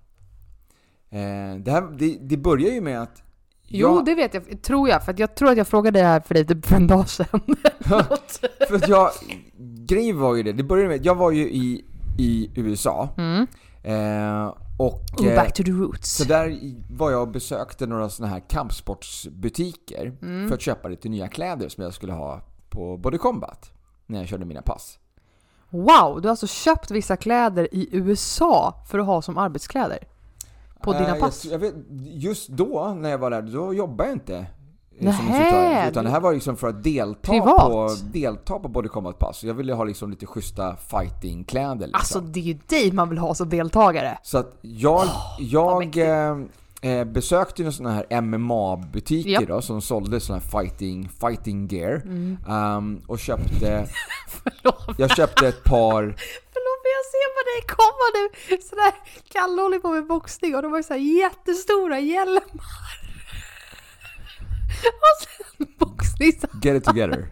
Eh, det, här, det, det börjar ju med att...
Jo, det vet jag, tror jag. För att jag tror att jag frågade det här för dig typ för en dag sedan. Något.
För att jag... Grejen var ju det, det började med att jag var ju i, i USA.
Mm.
Eh, och...
Ooh,
Eh,
back to the roots.
så där i- var jag och besökte några sådana här kampsportsbutiker
Mm.
för att köpa lite nya kläder som jag skulle ha på Body Combat. När jag körde mina pass.
Wow, du har alltså köpt vissa kläder i USA för att ha som arbetskläder? På
Eh,
dina
jag
pass?
tr- Jag, vet, just då, när jag var där, då jobbade jag inte eh, som
Nähä,
instruktör. Utan
du-
det här var liksom för att delta
Privat.
på, delta på Body Combat pass. Jag ville ha liksom lite schyssta fightingkläder liksom.
Alltså det är ju dig man vill ha som <laughs> deltagare.
Så att jag,
vad
jag
mäktigt.
eh, eh, besökte ju sådana här MMA-butiker
Ja. Mm.
då, som sålde sådana här fighting, fighting gear. Ehm, och köpte,
Förlåt,
jag köpte ett par
förlåt men jag ser på dig komma nu. Sådär, Kalle håller på med boxning och de har ju såhär jättestora hjälmar. Och sen boxning så
Get It
<laughs>
Together.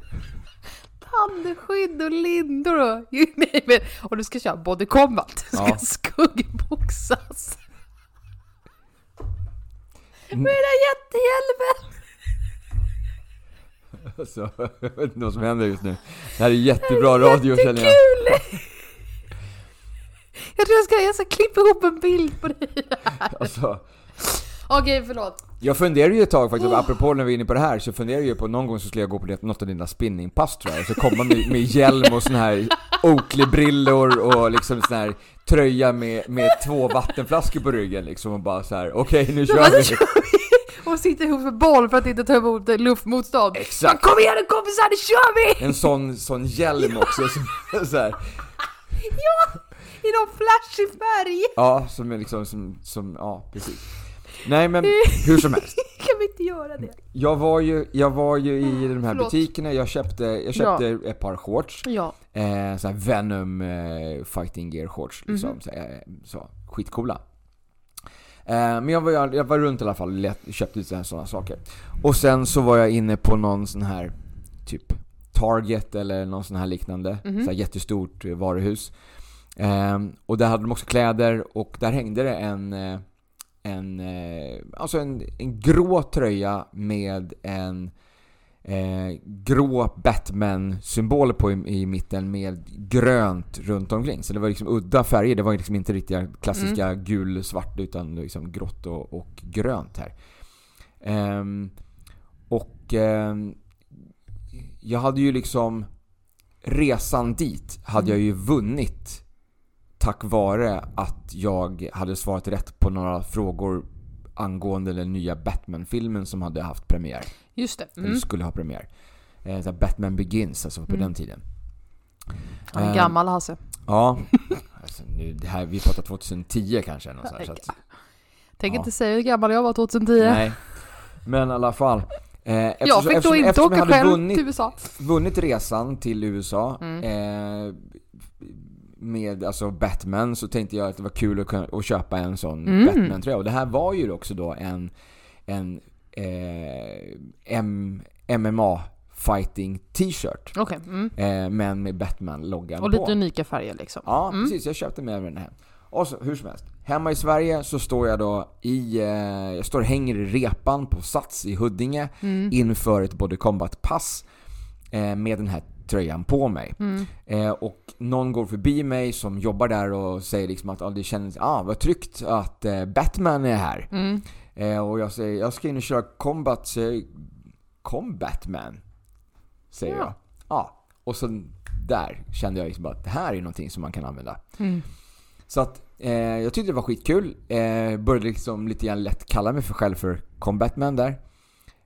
tandskydd och lindor och you name it. Och du ska köra body combat. Du ska
Ja.
skuggboxas.
Mm.
Med den där jättehjälmen!
Så, Alltså, <laughs> jag vet inte vad som händer just nu. Det här är jättebra radio känner jag.
Jättekul! Jag tror jag ska, jag ska klippa ihop en bild på dig.
Alltså,
Okej, förlåt.
Jag funderar ju ett tag faktiskt, apropå när vi är inne på det här, så funderar jag ju på någon gång så skulle jag gå på det, något av dina spinningpass tror jag, och så komma med, med hjälm och såna här Oakley-brillor och liksom sån här tröja med, med två vattenflaskor på ryggen liksom och bara så här: okej nu
Då bara,
kör
nu
vi!
kör vi! Och sitter ihop med boll för att inte ta emot eh, luftmotstånd.
Exakt.
Kom igen nu kompisar, nu kör vi!
En sån, sån hjälm också som, så här,
Ja! I någon flashig färg! <laughs>
ja som är liksom, som, som, ja precis. Nej men hur som helst.
Kan vi inte göra det?
Jag var ju, jag var ju i de här
Förlåt.
butikerna, jag köpte, jag köpte ett par shorts.
Ja.
Eh, så här Venom eh, fighting gear shorts liksom. Så, här, eh, så, skitcoola. Eh, men jag var, jag, jag var runt i alla fall och let- köpte ut sådana saker. Och sen så var jag inne på någon sån här typ Target eller någon sån här liknande.
Mhm.
Så här jättestort eh, varuhus. Eh, och där hade de också kläder och där hängde det en, eh, en, eh, alltså en, en grå tröja med en eh, grå Batman-symbol på i, i mitten med grönt runt omkring. Så det var liksom udda färger. Det var liksom inte riktiga klassiska gul-svart utan liksom grått och, och grönt här. Ehm, och ehm, jag hade ju liksom resan dit hade jag ju
Mm.
vunnit tack vare att jag hade svarat rätt på några frågor angående den nya Batman-filmen som hade haft premiär.
Just det.
Eller
Mm.
skulle ha premiär. Eh, så här Batman Begins, alltså på
Mm.
den tiden.
Han är
Eh,
gammal Hasse.
Ja. Alltså, nu, det här, vi pratar 2010 kanske. eller något sånt här, så att,
Tänk
ja.
inte säga hur gammal jag var 2010.
nej. Men i alla fall. Eh, eftersom,
jag fick då
eftersom,
inte
eftersom
åka
jag hade
själv
vunnit,
till USA.
vunnit resan till USA
Mm.
eh, med alltså Batman så tänkte jag att det var kul att, kunna, att köpa en sån
Mm.
Batman-tröja. Och det här var ju också då en, en eh, M- MMA fighting t-shirt.
Okej. Mm.
Eh, men med Batman-loggan
Och lite
på.
unika färger liksom.
Ja,
Mm.
precis. Jag köpte med mig den hem. Och så, hur som helst. Hemma i Sverige så står jag då i... Eh, jag står och hänger i repan på Sats i Huddinge
Mm.
inför ett Body Combat-pass eh, med den här tröjan på mig.
Mm.
Eh, och någon går förbi mig som jobbar där och säger liksom att ah, det känns... Ah, vad tryggt att eh, Batman är här.
Mm.
Eh, och jag säger jag ska in och köra combat, så jag, combatman. Säger
Ja.
jag. Ja. Och så där kände jag liksom bara att det här är någonting som man kan använda.
Mm.
Så att eh, jag tyckte det var skitkul. Eh, började liksom lite grann lätt kalla mig för själv för combatman där.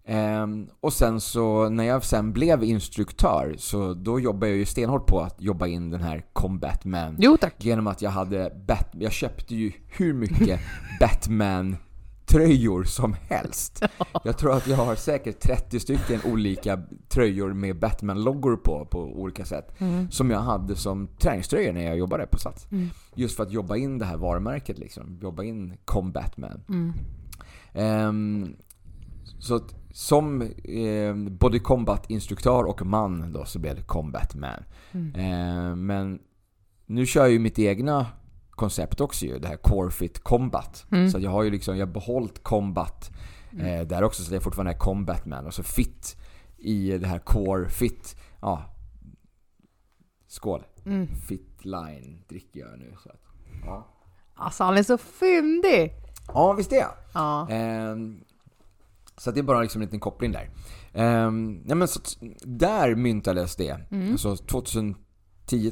Ehm, och sen så när jag sen blev instruktör så då jobbade jag ju stenhårt på att jobba in den här combatman
Jo tack.
Genom att jag hade Bat- jag köpte ju hur mycket Batman-tröjor som helst. Jag tror att jag har säkert 30 stycken olika tröjor med Batman-loggor på, på olika sätt.
Mm.
Som jag hade som träningströjor när jag jobbade på Sats.
Mm.
Just för att jobba in det här varumärket liksom. Jobba in Combatman.
Mm.
Ehm, så att som eh, Body Combat-instruktör och man då så blev det Combatman.
Mm.
Eh, men nu kör jag ju mitt egna koncept också ju, det här Core Fit Combat.
Mm.
Så att jag har ju liksom, jag har behållit Combat eh, där också, så det är fortfarande Combatman. Och så Fit i det här Core Fit. Ja. Skål.
Mm.
Fit Line dricker jag nu. Så att, ja.
Alltså han är så fyndig!
ja, visst är jag.
Ja.
Ehm, så att det är bara liksom en liten koppling där. Ehm, nej men så, att där myntades det.
Mm.
Alltså 2010,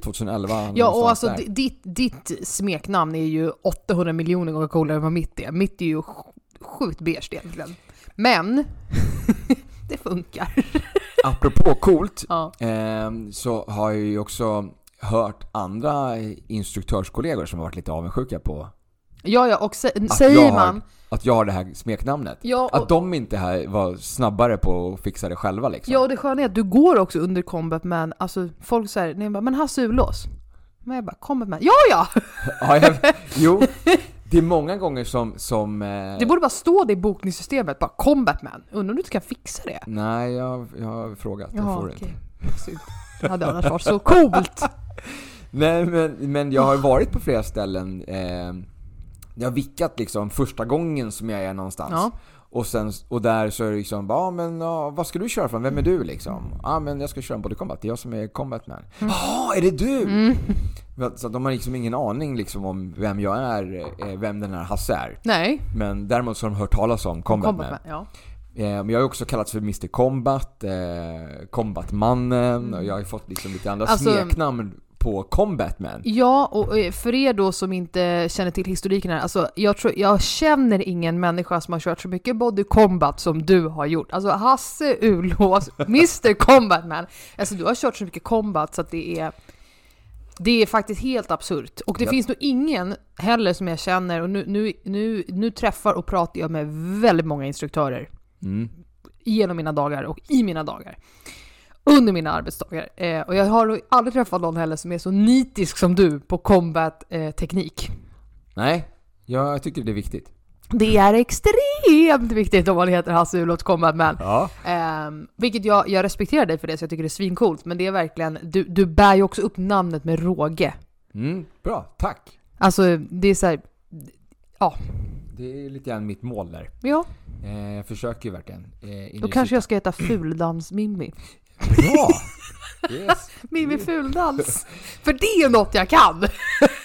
2011.
Ja och
någonstans
alltså
där.
di- ditt, ditt smeknamn är ju 800 miljoner gånger coolare än vad mitt är. Mitt är ju sj- sjukt beige egentligen. Men <laughs> det funkar.
Apropå coolt,
Ja.
ehm, så har jag ju också hört andra instruktörskollegor som har varit lite avundsjuka på
Ja, ja och sä-
jag
säger
har-
man...
att jag har det här smeknamnet.
Ja, och,
Att de inte här var snabbare på att fixa det själva liksom.
ja, och det sköna är att du går också under combat man, alltså folk säger, nej bara, men Hasse Ulås. Men jag bara, combat man, ja ja!
Ja,
<laughs>
jag, jo, det är många gånger som... som eh,
Det borde bara stå det i bokningssystemet, bara combat man. Undrar om du inte kan fixa det?
Nej, jag, jag har frågat. jag får inte.
okej. Synd. Det hade annars varit
<laughs>
så coolt!
Nej, men, men jag har varit på flera ställen. Eh, jag har vickat liksom första gången som jag är någonstans.
Ja.
Och, sen, och där så är det liksom, bara, ah, men ja, vad ska du köra för? Vem är du
Mm.
liksom? Ja ah, men jag ska köra en body combat, det är jag som är combatman. Jaha, är det du?
Mm.
Så att de har liksom ingen aning liksom om vem jag är, eh, vem den här Hasse är.
Nej,
Men däremot så har de hört talas om combatman.
combat man. Ja.
Eh, men jag har ju också kallats för Mr Combat, eh, Combatmannen och jag har ju fått liksom lite andra
Mm. Alltså-
smeknamn på Combatman.
Ja, och eh, för er då som inte känner till historiken här, alltså jag, tror, jag känner ingen människa som har kört så mycket body combat som du har gjort. Alltså Hasse Ulås, <laughs> Mr Combatman. Alltså du har kört så mycket combat så att det är... Det är faktiskt helt absurt. Och det
Ja.
finns nog ingen heller som jag känner, och nu, nu, nu, nu träffar och pratar jag med väldigt många instruktörer
Mm.
genom mina dagar och i mina dagar. Under mina arbetsdagar. Eh, och jag har nog aldrig träffat någon heller som är så nitisk som du på eh, combat-teknik.
Nej, jag tycker det är viktigt.
det är extremt viktigt om man heter Hasse Ulås Combat Man.
Ja.
Eh, vilket jag, jag respekterar dig för det, så jag tycker det är svincoolt. Men det är verkligen, du, du bär ju också upp namnet med råge.
Mm, bra, tack.
Alltså det är så här, ja,
det är lite grann mitt mål där.
Ja,
Eh, jag försöker ju verkligen. Eh,
då kanske jag ska heta Fuldams-Mimmi.
Bra! Yes.
<laughs> Mimmi Fuldans! För det är något jag kan!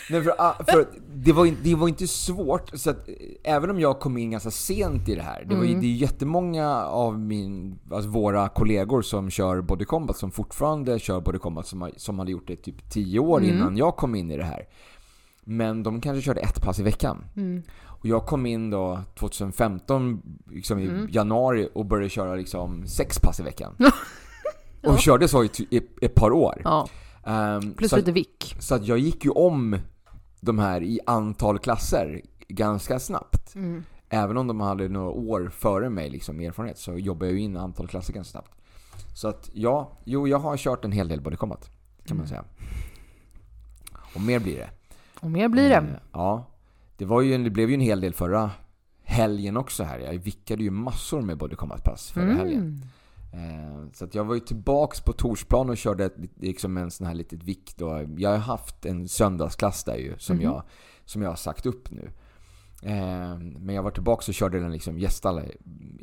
Nej, för, ah, för det, var, in- det var inte svårt, så att, eh, även om jag kom in ganska sent i det här. Det, var, ju-
Mm.
det är jättemånga av min, alltså våra kollegor som kör Body Combat, som fortfarande kör Body Combat, som, har- som hade gjort det typ 10 år
Mm.
innan jag kom in i det här. Men de kanske körde ett pass i veckan.
Mm.
Och jag kom in då 2015, liksom i
Mm.
januari, och började köra liksom sex pass i veckan.
<laughs> Ja.
Och körde så i, ty- i ett par år.
Ja,
Ehm,
plus
så, att,
lite vick.
så att jag gick ju om de här i antal klasser ganska snabbt.
Mm.
Även om de hade några år före mig liksom, i erfarenhet så jobbade jag ju in antal klasser ganska snabbt. Så att ja, jo jag har kört en hel del Body Combat kan man
Mm.
säga. Och mer blir det.
Och mer blir
Eh,
det.
Ja. Det, var ju en, det blev ju en hel del förra helgen också här. Jag vickade ju massor med Body Combat-pass förra helgen.
Mm.
Eh, Så att jag var ju tillbaks på Torsplan och körde ett, lit- liksom en sån här litet vick då. Jag har haft en söndagsklass där ju som,
Mhm.
jag, som jag har sagt upp nu. Eh, Men jag var tillbaks och körde den liksom gästalla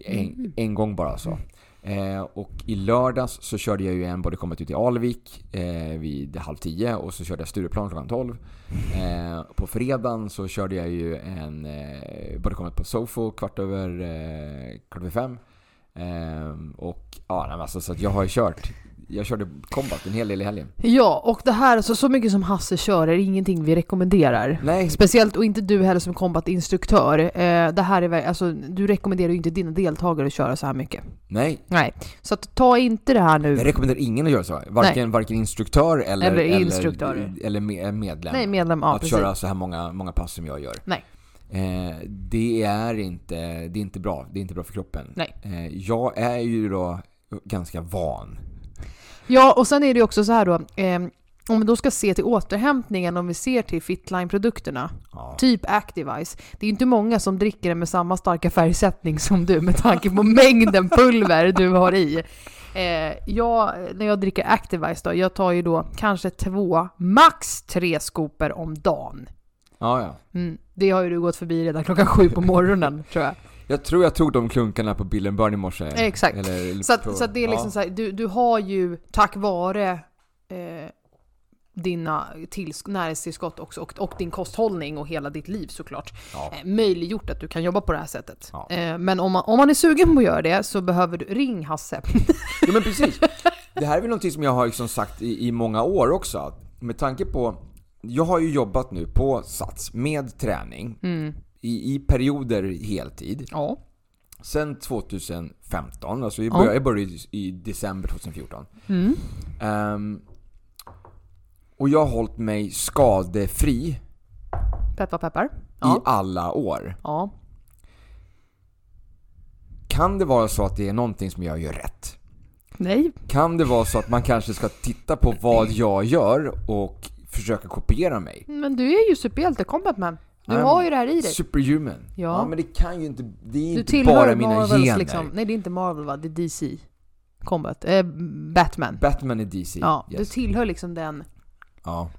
en,
Mhm.
en gång bara så. Eh, Och i lördags så körde jag ju en Body Combat ut i Alvik eh, vid halv tio och så körde jag Stureplan klockan tolv. Eh, på fredagen så körde jag ju en eh, Body Combat på Sofo kvart över, eh, kvart över fem. Ehm, och ja, nej, men alltså, så att jag har ju kört. Jag körde combat en hel del i helgen.
Ja, och det här, alltså, så mycket som Hasse kör är ingenting vi rekommenderar.
Nej,
Speciellt, och inte du heller som kombatinstruktör. Eh, det här är, väl- alltså, du rekommenderar ju inte dina deltagare att köra så här mycket.
nej.
Nej, så att, ta inte det här nu.
Jag rekommenderar ingen att göra så. Varken, varken instruktör eller,
Eller instruktörer.
eller, me- eh, medlem.
Nej, medlem, ja
att
precis.
köra så här många, många pass som jag gör.
Nej.
Eh, det, är inte, det är inte bra. Det är inte bra för kroppen.
Nej.
Eh, jag är ju då ganska van.
Ja, och sen är det ju också så här då. Eh, om vi då ska se till återhämtningen, om vi ser till Fitline-produkterna,
Ja.
typ Activise. Det är ju inte många som dricker den med samma starka färgsättning som du med tanke på mängden pulver du har i. Eh, jag, när jag dricker Activise då, jag tar ju då kanske två, max tre skopor om dagen.
Ja, ja.
Mm, det har ju du gått förbi redan klockan sju på morgonen tror jag.
Jag tror jag tog de klunkarna på Bill and Burn i morse.
Exakt.
Eller, eller
Så,
på-
att, så att det är liksom
ja.
så här, du, du har ju tack vare eh, dina tills, näringstillskott också, och, och din kosthållning och hela ditt liv såklart
Ja.
eh, möjliggjort att du kan jobba på det här sättet.
Ja.
Eh, men om man, om man är sugen på att göra det så behöver du, ring Hasse.
Ja men precis. Det här är väl någonting som jag har liksom sagt i, i många år också. Att Med tanke på, jag har ju jobbat nu på Sats med träning i, i perioder heltid.
<laughs> Ja.
Sen 2015, alltså jag
Ja.
började, jag började i- i december 2014.
Mm.
Ehm, och jag har hållit mig skadefri
Peppar peppar.
i
Ja.
alla år.
ja.
Kan det vara så att det är någonting som jag gör rätt?
Nej.
Kan det vara så att man kanske ska titta på vad jag gör och försöka kopiera mig?
Men du är ju superhjälte Combatman. Du
Nej,
har
men-
ju det här i dig.
Superhuman.
Ja.
men det kan ju inte, det är
Du
inte
tillhör
bara mina
Marvels
gener.
liksom. Nej det är inte Marvel va? Det är DC. Combat. Eh, Batman.
Batman är DC.
Ja,
yes.
du tillhör liksom den
ja.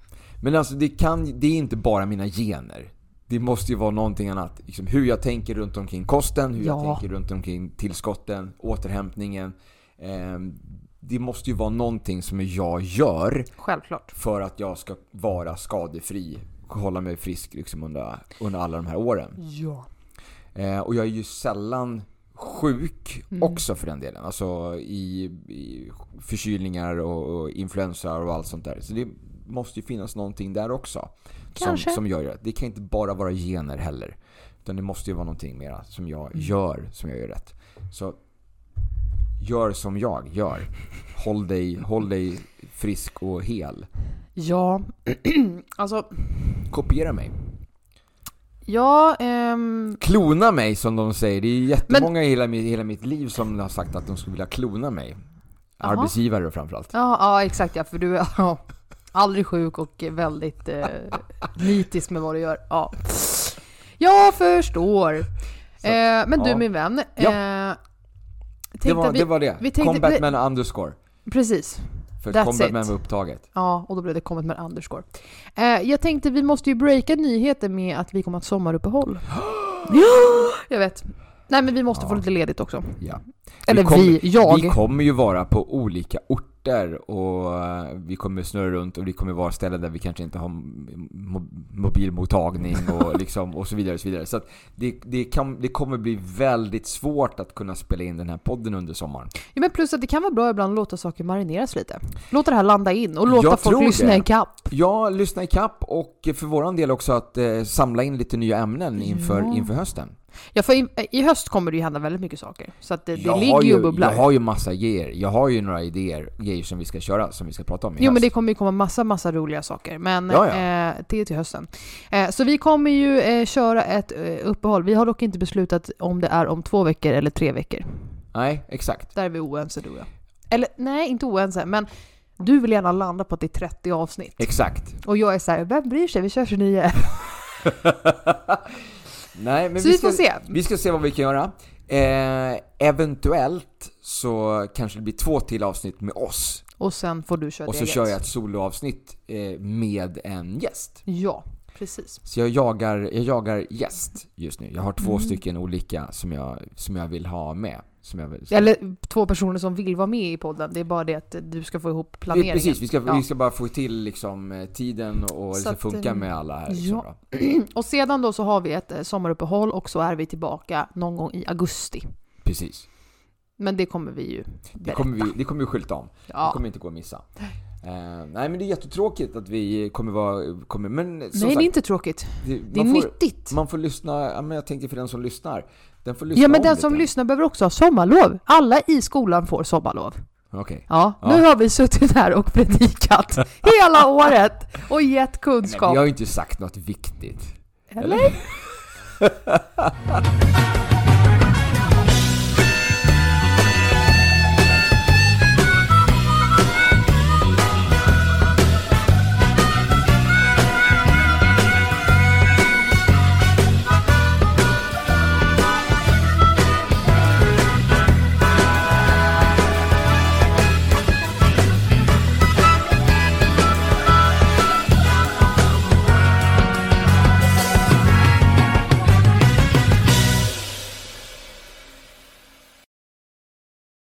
Men alltså det kan, det är inte bara mina gener. Det måste ju vara någonting annat. Liksom hur jag tänker runt omkring kosten, hur
Ja.
jag tänker runt omkring tillskotten, återhämtningen. Ehm, det måste ju vara någonting som jag gör
Självklart.
för att jag ska vara skadefri och hålla mig frisk liksom under, under alla de här åren.
Ja.
Eh, och jag är ju sällan sjuk
Mm.
också för den delen. Alltså i, i förkylningar och, och influensa och allt sånt där. Så det måste ju finnas någonting där också.
Kanske.
Som, som gör det. Det kan inte bara vara gener heller. Utan det måste ju vara någonting mera som jag
Mm.
gör, som jag gör rätt. Så gör som jag gör. Håll dig, håll dig frisk och hel.
Ja, <clears throat> alltså,
Kopiera mig.
ja, ehm,
Klona mig som de säger. Det är jättemånga i hela, mi- hela mitt liv som har sagt att de skulle vilja klona mig.
Jaha.
Arbetsgivare framförallt.
ja, ja, exakt ja, för du är <laughs> ja, aldrig sjuk och väldigt eh, nitisk med vad du gör. Ja, jag förstår.
Så,
eh, men du
ja.
min vän,
Ja.
eh,
Det
tänkte
var,
vi,
det var det.
vi tänkte-
Combatman underscore.
precis,
För
That's
Combatman
it.
var upptaget.
ja, och då blev det kommit med
<gasps>
Andersgård. Eh, jag tänkte vi måste ju breaka nyheten med att vi kommer att ha ett sommaruppehåll. Jag vet. Nej men vi måste
Ja.
få lite ledigt också.
Ja.
Eller
vi, kommer-
vi, jag.
vi kommer ju vara på olika orter och eh, vi kommer snurra runt och vi kommer vara ställen där vi kanske inte har m- mo- mobilmottagning
<laughs>
och, liksom, och så vidare. Och så vidare. Så att det, det, kan, det kommer bli väldigt svårt att kunna spela in den här podden under sommaren.
Ja, men plus att det kan vara bra ibland att låta saker marineras lite. Låta det här landa in och låta
Jag
folk
tror
lyssna
det.
ikapp.
Ja, lyssna ikapp och för våran del också att eh, samla in lite nya ämnen inför,
Ja.
inför hösten.
Ja, för i, i höst kommer det ju hända väldigt mycket saker. Så att det, det
Jag
ligger
har
ju och
Jag
bubblar.
har ju massa idéer. Jag har ju några idéer, grejer som vi ska köra, som vi ska prata om i
Jo
höst.
men det kommer ju komma massa, massa roliga saker. Men
Ja, ja.
Eh, det är till hösten. Eh, så vi kommer ju eh, köra ett eh, uppehåll. Vi har dock inte beslutat om det är om två veckor eller tre veckor.
Nej, exakt.
Där är vi oense du och jag. Eller nej, inte oense, men du vill gärna landa på att det är 30 avsnitt.
Exakt. <laughs>
Och jag är så här, vem bryr sig? Vi kör 29.
Nej, men
så vi, får se.
Vi ska se vad vi kan göra. Eh, eventuellt så kanske det blir två till avsnitt med oss.
Och sen får du köra
Och
ditt
så
eget.
kör jag ett soloavsnitt eh, med en gäst.
Ja, precis.
Så jag jagar, jag jagar gäst just nu. Jag har två
Mm.
stycken olika som jag, som jag vill ha med. Som jag vill,
Eller två personer som vill vara med i podden. Det är bara det att du ska få ihop
Vi-
planeringen.
Eh, Precis, vi ska,
Ja.
vi ska bara få till liksom, eh, tiden och det
Så
ska
att,
funka
eh,
med alla här. Liksom,
ja.
då.
Och sedan då så har vi ett eh, sommaruppehåll och så är vi tillbaka någon gång i augusti.
Precis.
Men det kommer vi ju
Det
berätta.
kommer, vi, det kommer vi skylta om. Det
ja.
kommer inte gå att missa. Eh, nej men det är jättetråkigt att vi kommer vara... Kommer, men som
Nej, det är
sagt,
inte tråkigt.
det,
Det är
man, får,
nyttigt.
man får lyssna, ja, men jag tänker för den som lyssnar. Den får lyssna
Ja, men
om
den
lite.
som lyssnar behöver också ha sommarlov. Alla i skolan får sommarlov.
Okej.
Ja,
Ja.
nu har vi suttit här och
<laughs>
predikat hela året och gett
Nej, men
kunskap.
jag har ju inte sagt något viktigt.
Eller?